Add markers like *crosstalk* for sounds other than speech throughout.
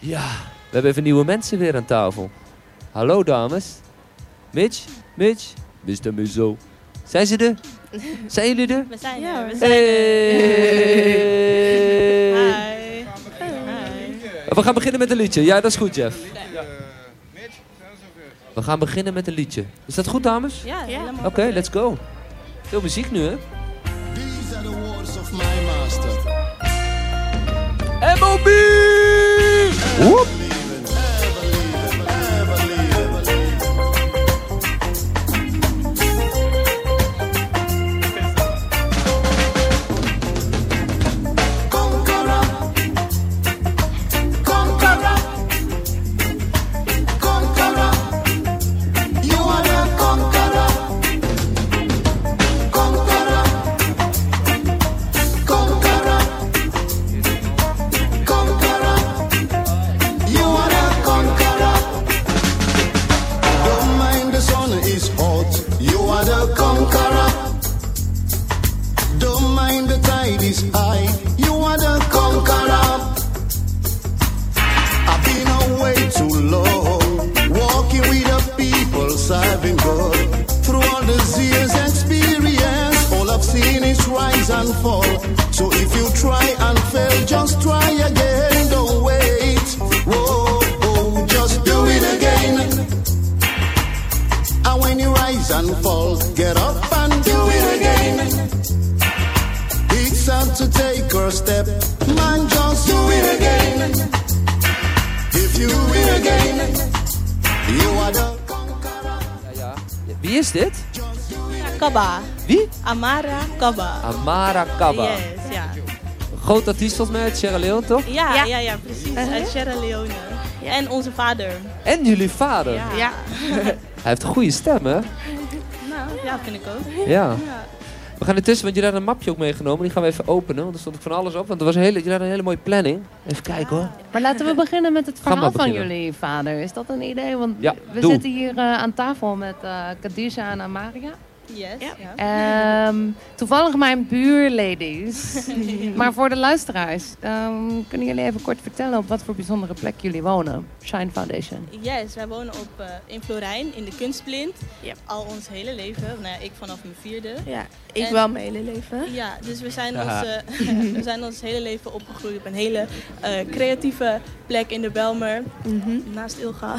Ja, we hebben even nieuwe mensen weer aan tafel. Hallo dames. Mitch, Mitch, Mr. Muzo. Zijn ze *laughs* er? Zijn jullie er? We zijn Ja, er, hoor. we zijn er. Hey! Hi. eh. Hi. We gaan beginnen met een liedje. Ja, dat is goed, Jeff. Eh, Mitch, zijn ze weer? We gaan beginnen met een liedje. Is dat goed, dames? Ja, helemaal Oké, let's go. Veel muziek nu, hè? These are the words of my master. M.O.B. Woep. Conqueror, conqueror, conqueror. You are a conqueror, conqueror, conqueror, conqueror. You are a conqueror. Don't mind the sun is hot. You are the conqueror. Don't mind the tide is high. You are the conqueror. I've been away too long, walking with the people, serving God. Through all these years' experience, all I've seen is rise and fall. So if you try and fail, just try again. Don't wait. Whoa, oh, just do it again. And when you rise and fall, get up and do it again. It's time to take our step. Man, just do it again. If you do it again, you are the conqueror. Ja, ja. Wie is dit? Kaba. Wie? Amara Kaba. Amara Kaba. Yes, ja. Groot artiest volgens mij uit Sierra Leone, toch? Ja, ja, ja, precies. Uh-huh. Uit Sierra Leone. En onze vader. En jullie vader. Ja. Hij heeft een goede stem, hè? Nou, ja, vind ik ook. Ja. We gaan ertussen, want jullie hadden een mapje ook meegenomen. Die gaan we even openen, want er stond ook van alles op. Want er was een hele, jullie hadden een hele mooie planning. Even kijken hoor. Maar laten we beginnen met het Ga maar verhaal van beginnen. jullie vader. Is dat een idee? Want Ja, we doe. zitten hier eh, aan tafel met eh Khadija en Amaria. Yes. Ja. Ehm, toevallig mijn buurladies. maar voor de luisteraars, ehm, kunnen jullie even kort vertellen op wat voor bijzondere plek jullie wonen? Shine Foundation. Yes, wij wonen op, eh, in Florijn, in de kunstblind. Ja. Al ons hele leven. Nou ja, ik vanaf mijn vierde. Ja, ik En- wel mijn hele leven. Ja, dus we zijn, Haha. ons, eh, *laughs* we zijn ons hele leven opgegroeid op een hele eh, creatieve plek in de Belmer, naast Ilga. *laughs*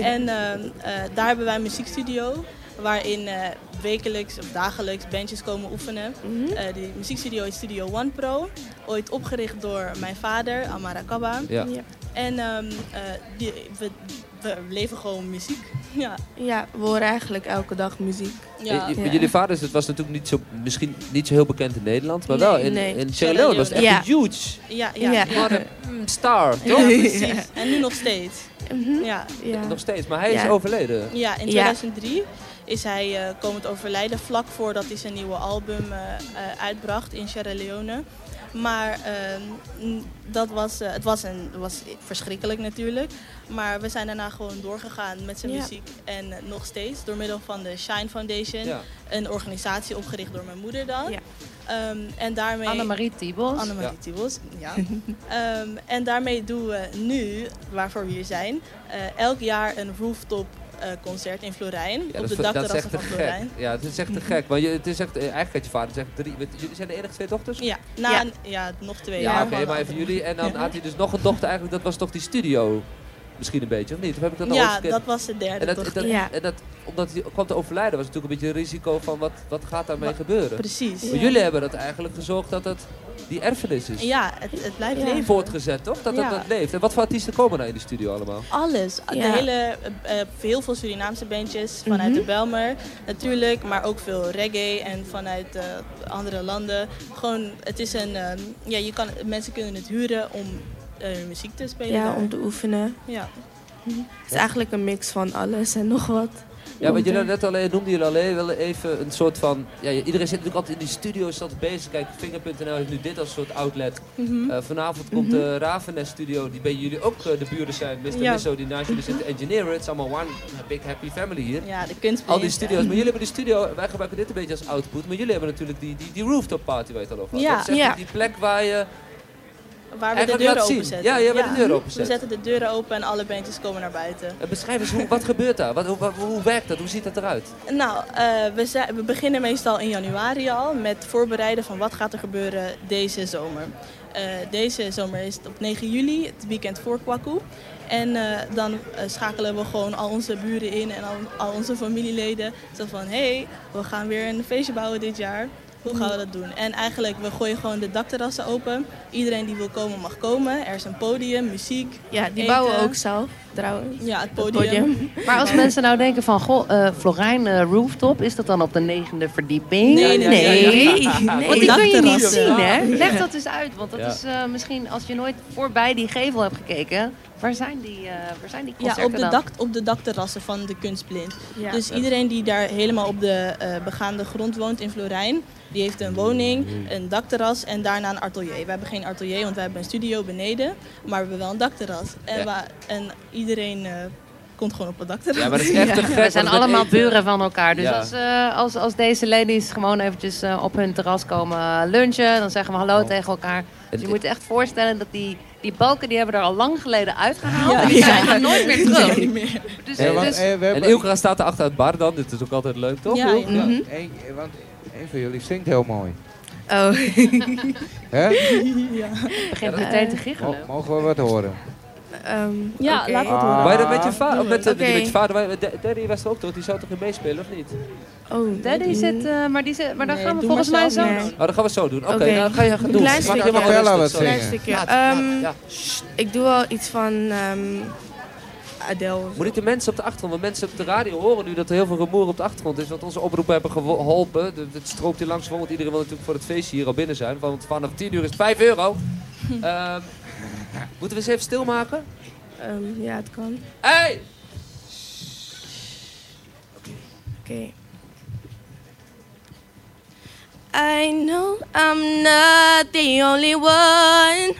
en ehm, eh, daar hebben wij een muziekstudio, waarin eh, wekelijks of dagelijks bandjes komen oefenen. Mhm. Eh, die muziekstudio is Studio One Pro, ooit opgericht door mijn vader, Amara Kaba. Ja. Ja. En ehm, eh, die, we, we leven gewoon muziek. *laughs* Ja, Ja, we horen eigenlijk elke dag muziek. ja. J- j- Ja. Eh, Jullie vader is- het was natuurlijk niet zo, misschien niet zo heel bekend in Nederland, maar wel Nee, in, nee. in Sierra Leone was het echt Ja. een huge ja, ja, Ja. ja. mm, star, toch? *laughs* Ja, precies. En nu nog steeds. Mhm. Ja. Ja. Nog steeds, maar hij is Ja. overleden. Ja, in Ja. 2003 is hij eh, komen te overlijden vlak voordat hij zijn nieuwe album eh, eh, uitbracht in Sierra Leone. Maar ehm, n- dat was, eh, het was, een, was verschrikkelijk natuurlijk. Maar we zijn daarna gewoon doorgegaan met zijn Ja. muziek. En eh, nog steeds door middel van de Shine Foundation. Ja. Een organisatie opgericht door mijn moeder dan. Ja. Ehm, en daarmee... Annemarie Tibos. Annemarie Ja. Tibos, *laughs* ja. Ehm, en daarmee doen we nu, waarvoor we hier zijn, eh, elk jaar een rooftop eh, concert in Florijn. Ja, op dat, de is- dat is dakterrassen echt te van gek. Florijn. Ja, het is echt te gek. Want je, het is echt, eh, eigenlijk had je vader zegt drie. want Jullie zijn de enige twee dochters? Ja, na, Ja. ja. nog twee Ja, jaar. oké, van- maar even jullie. En dan had hij dus nog een dochter eigenlijk, dat was toch die studio misschien een beetje, of niet? Of heb ik dat al ooit Ja, verkeerd? dat was de derde En dat, dochter. dat- Ja. en dat, omdat hij kwam te overlijden, was natuurlijk een beetje een risico van wat, wat gaat daarmee Wat- gebeuren. Precies. Maar jullie hebben dat eigenlijk gezorgd dat het die erfenis is. Ja, het, het blijft Ja. leven. Voortgezet, toch? Dat, Ja. dat dat leeft. En wat voor artiesten komen nou in de studio allemaal? Alles. De Ja. Mhm. hele, eh, eh, heel veel Surinaamse bandjes vanuit de Belmer natuurlijk, maar ook veel reggae en vanuit eh, andere landen. Gewoon, het is een, ehm, ja, je kan, mensen kunnen het huren om eh, hun muziek te spelen. Ja, daar. om te oefenen. ja. Het is eigenlijk een mix van alles en nog wat. Ja, want jullie net eh, alleen, noemden jullie alleen wel even een soort van... Ja, iedereen zit natuurlijk altijd in die studio, is altijd bezig. Kijk, Finger.nl heeft nu dit als soort outlet. Mhm. Eh, vanavond komt de Ravenes studio, die bij jullie ook eh, de buren zijn. Mr. Ja. Misso, die naast jullie zit te engineeren. Het is allemaal one big happy family hier. ja, de kunst. Al die studio's, maar jullie hebben de studio, wij gebruiken dit een beetje als output, maar jullie hebben natuurlijk die, die, die rooftop party waar je het al over had. Ja. Dat is echt Ja. die plek waar je waar we de Eigenlijk deuren laat zien. openzetten. Ja, ja, waar de deuren openzet. We zetten de deuren open en alle bandjes komen naar buiten. Eh, Beschrijf eens, hoe, wat gebeurt daar? Wat, hoe, wat- hoe werkt dat? Hoe ziet dat eruit? Nou, eh, we, zijn- we beginnen meestal in januari al met voorbereiden van wat gaat er gebeuren deze zomer. Eh, deze zomer is het op 9 juli, het weekend voor Kwaku. En eh, dan eh, schakelen we gewoon al onze buren in en al, al onze familieleden. Zo van, hé, hey, we gaan weer een feestje bouwen dit jaar. Hoe gaan we dat doen? En eigenlijk, we gooien gewoon de dakterrassen open. Iedereen die wil komen mag komen. Er is een podium, muziek. Ja, die Eten. bouwen ook zelf, trouwens. Ja, het Het podium. Maar als mensen nou denken van, goh, eh, Florijn eh, Rooftop, is dat dan op de negende verdieping? Nee, nee, nee, Nee, Want die kun je niet Dakterrassen. zien, hè? Leg dat eens uit, want dat Ja. is eh, misschien als je nooit voorbij die gevel hebt gekeken. Waar zijn die, eh, waar zijn die Ja, concerten op de, dan? dak, op de dakterrassen van de kunstblind. Ja. *laughs* dus iedereen die daar helemaal op de eh, begaande grond woont in Florijn, die heeft een woning, een dakterras en daarna een atelier. Wij hebben geen atelier, want wij hebben een studio beneden, maar we hebben wel een dakterras. En, Ja. wa- en iedereen eh, komt gewoon op het dakterras. Ja, *laughs* maar dat is echt te gek. We zijn want het allemaal eten- buren van elkaar. Dus Ja. als, eh, als, als deze ladies gewoon eventjes eh, op hun terras komen lunchen, dan zeggen we Oh. hallo tegen elkaar. Dus je moet je echt voorstellen dat die, die balken, die hebben er al lang geleden uitgehaald. En die zijn er nooit meer terug. Niet meer. Dus, Ja, want- dus- eh, we En hebben- Ilkra staat er achter het bar dan. Dit is ook altijd leuk, toch? Ja, Ilkra? Mhm. Hey, eh, want een van jullie zingt heel mooi. Oh, Hè? Ja, begint meteen te giggelen. Mo- mogen we wat horen? ehm, ja oké. laat het horen. Ah. Waar je dat met je vader? Met, met, Oké. met je vader. waar- D- Daddy was er ook toch? Die zou toch niet meespelen, of niet? Oh, Daddy zit, eh, maar, die zit, maar daar Nee, gaan we doe volgens maar mij zo. zelf maar. Oh, dat gaan we zo doen. Oké, Oké. nou, ga je gaan doen. Klein Maak je stukje. helemaal Acapella rustig, wat sorry. Klein stukje. Laat- Ehm, Ja. Ik doe wel iets van ehm Adele. Moet niet de mensen op de achtergrond, want mensen op de radio horen nu dat er heel veel rumoer op de achtergrond is. Want onze oproepen hebben gewo- geholpen. De- Het stroomt hier langs voor, want iedereen wil natuurlijk voor het feestje hier al binnen zijn. Want vanaf 10 uur is het 5 euro. Ehm, moeten we eens even stilmaken? Ehm, ja, het kan. Hé! Hey! Okay. I know I'm not the only one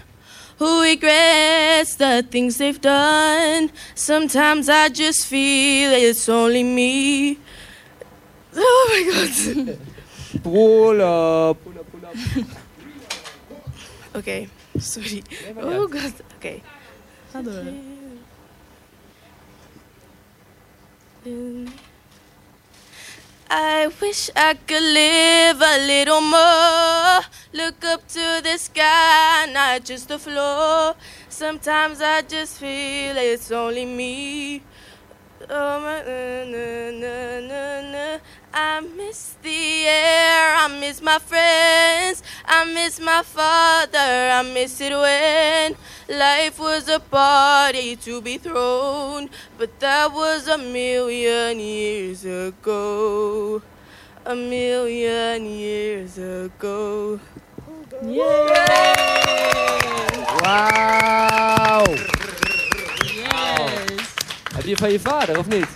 who regrets the things they've done. Sometimes I just feel it's only me. *laughs* Oh my god. Pull up. okay, sorry. Oh god. Okay. ga door. I wish I could live a little more. Look up to the sky, not just the floor. Sometimes I just feel it's only me. Oh my, na, na, na, na, na. I miss the air, I miss my friends, I miss my father, I miss it when life was a party to be thrown, but that was a million years ago. A million years ago. Wauw. Yes. Heb je van je vader, of niet?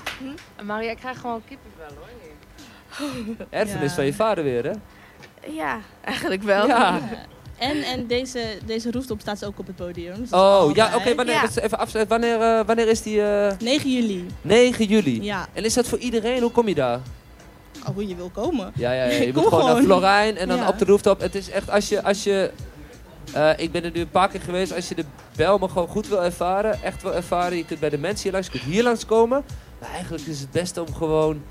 Maria, ik krijg gewoon kippenvel hoor. Erfenis Ja. van je vader weer, hè? Ja, eigenlijk wel. Ja. En, en deze, deze rooftop staat ze ook op het podium. dus Oh, ja, oké. allebei. wanneer, Ja. dat is even afsluiten. wanneer, eh, wanneer is die? eh, 9 juli. 9 juli. Ja, En is dat voor iedereen? Hoe kom je daar? Oh, hoe je wil komen. Ja, ja, ja. je *laughs* Kom moet gewoon naar gewoon. Florijn en dan Ja. op de rooftop. Het is echt, als je, als je eh, ik ben er nu een paar keer geweest, als je de Belmen gewoon goed wil ervaren, echt wil ervaren, je kunt bij de mensen hier langs, je kunt hier langs komen. Maar eigenlijk is het beste om gewoon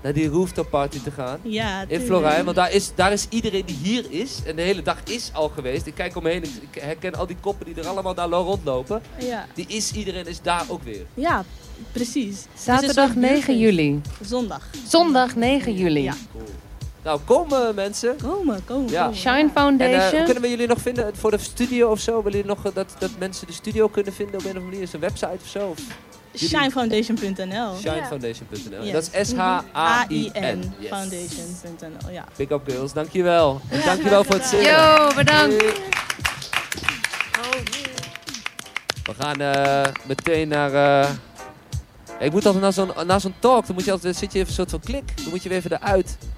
naar die rooftop party te gaan. Ja, In tuurlijk. Florijn, want daar is, daar is iedereen die hier is en de hele dag is al geweest. Ik kijk omheen, ik, ik herken al die koppen die er allemaal daar rondlopen. Ja. Die is, iedereen is daar ook weer. Ja, precies. Zaterdag 9 juli. Zondag. Zondag 9 juli. Ja. Nou, kom eh, mensen. Komen, komen. Ja. komen. Shine En eh, hoe Foundation. kunnen we jullie nog vinden eh, voor de studio of zo? Willen jullie nog eh, dat, dat mensen de studio kunnen vinden op een of andere manier? Is er een website of zo? Of Shinefoundation.nl. shinefoundation.nl. Ja. Dat is S-H-A-I-N. A-I-N. Yes. Foundation.nl. Ja. Pick up girls, dankjewel. En dankjewel voor het zingen. Yo, bedankt. We gaan eh, meteen naar... eh, ja, ik moet altijd naar zo'n, naar zo'n talk, dan moet je altijd, zit je even een soort van klik. Dan moet je weer even eruit.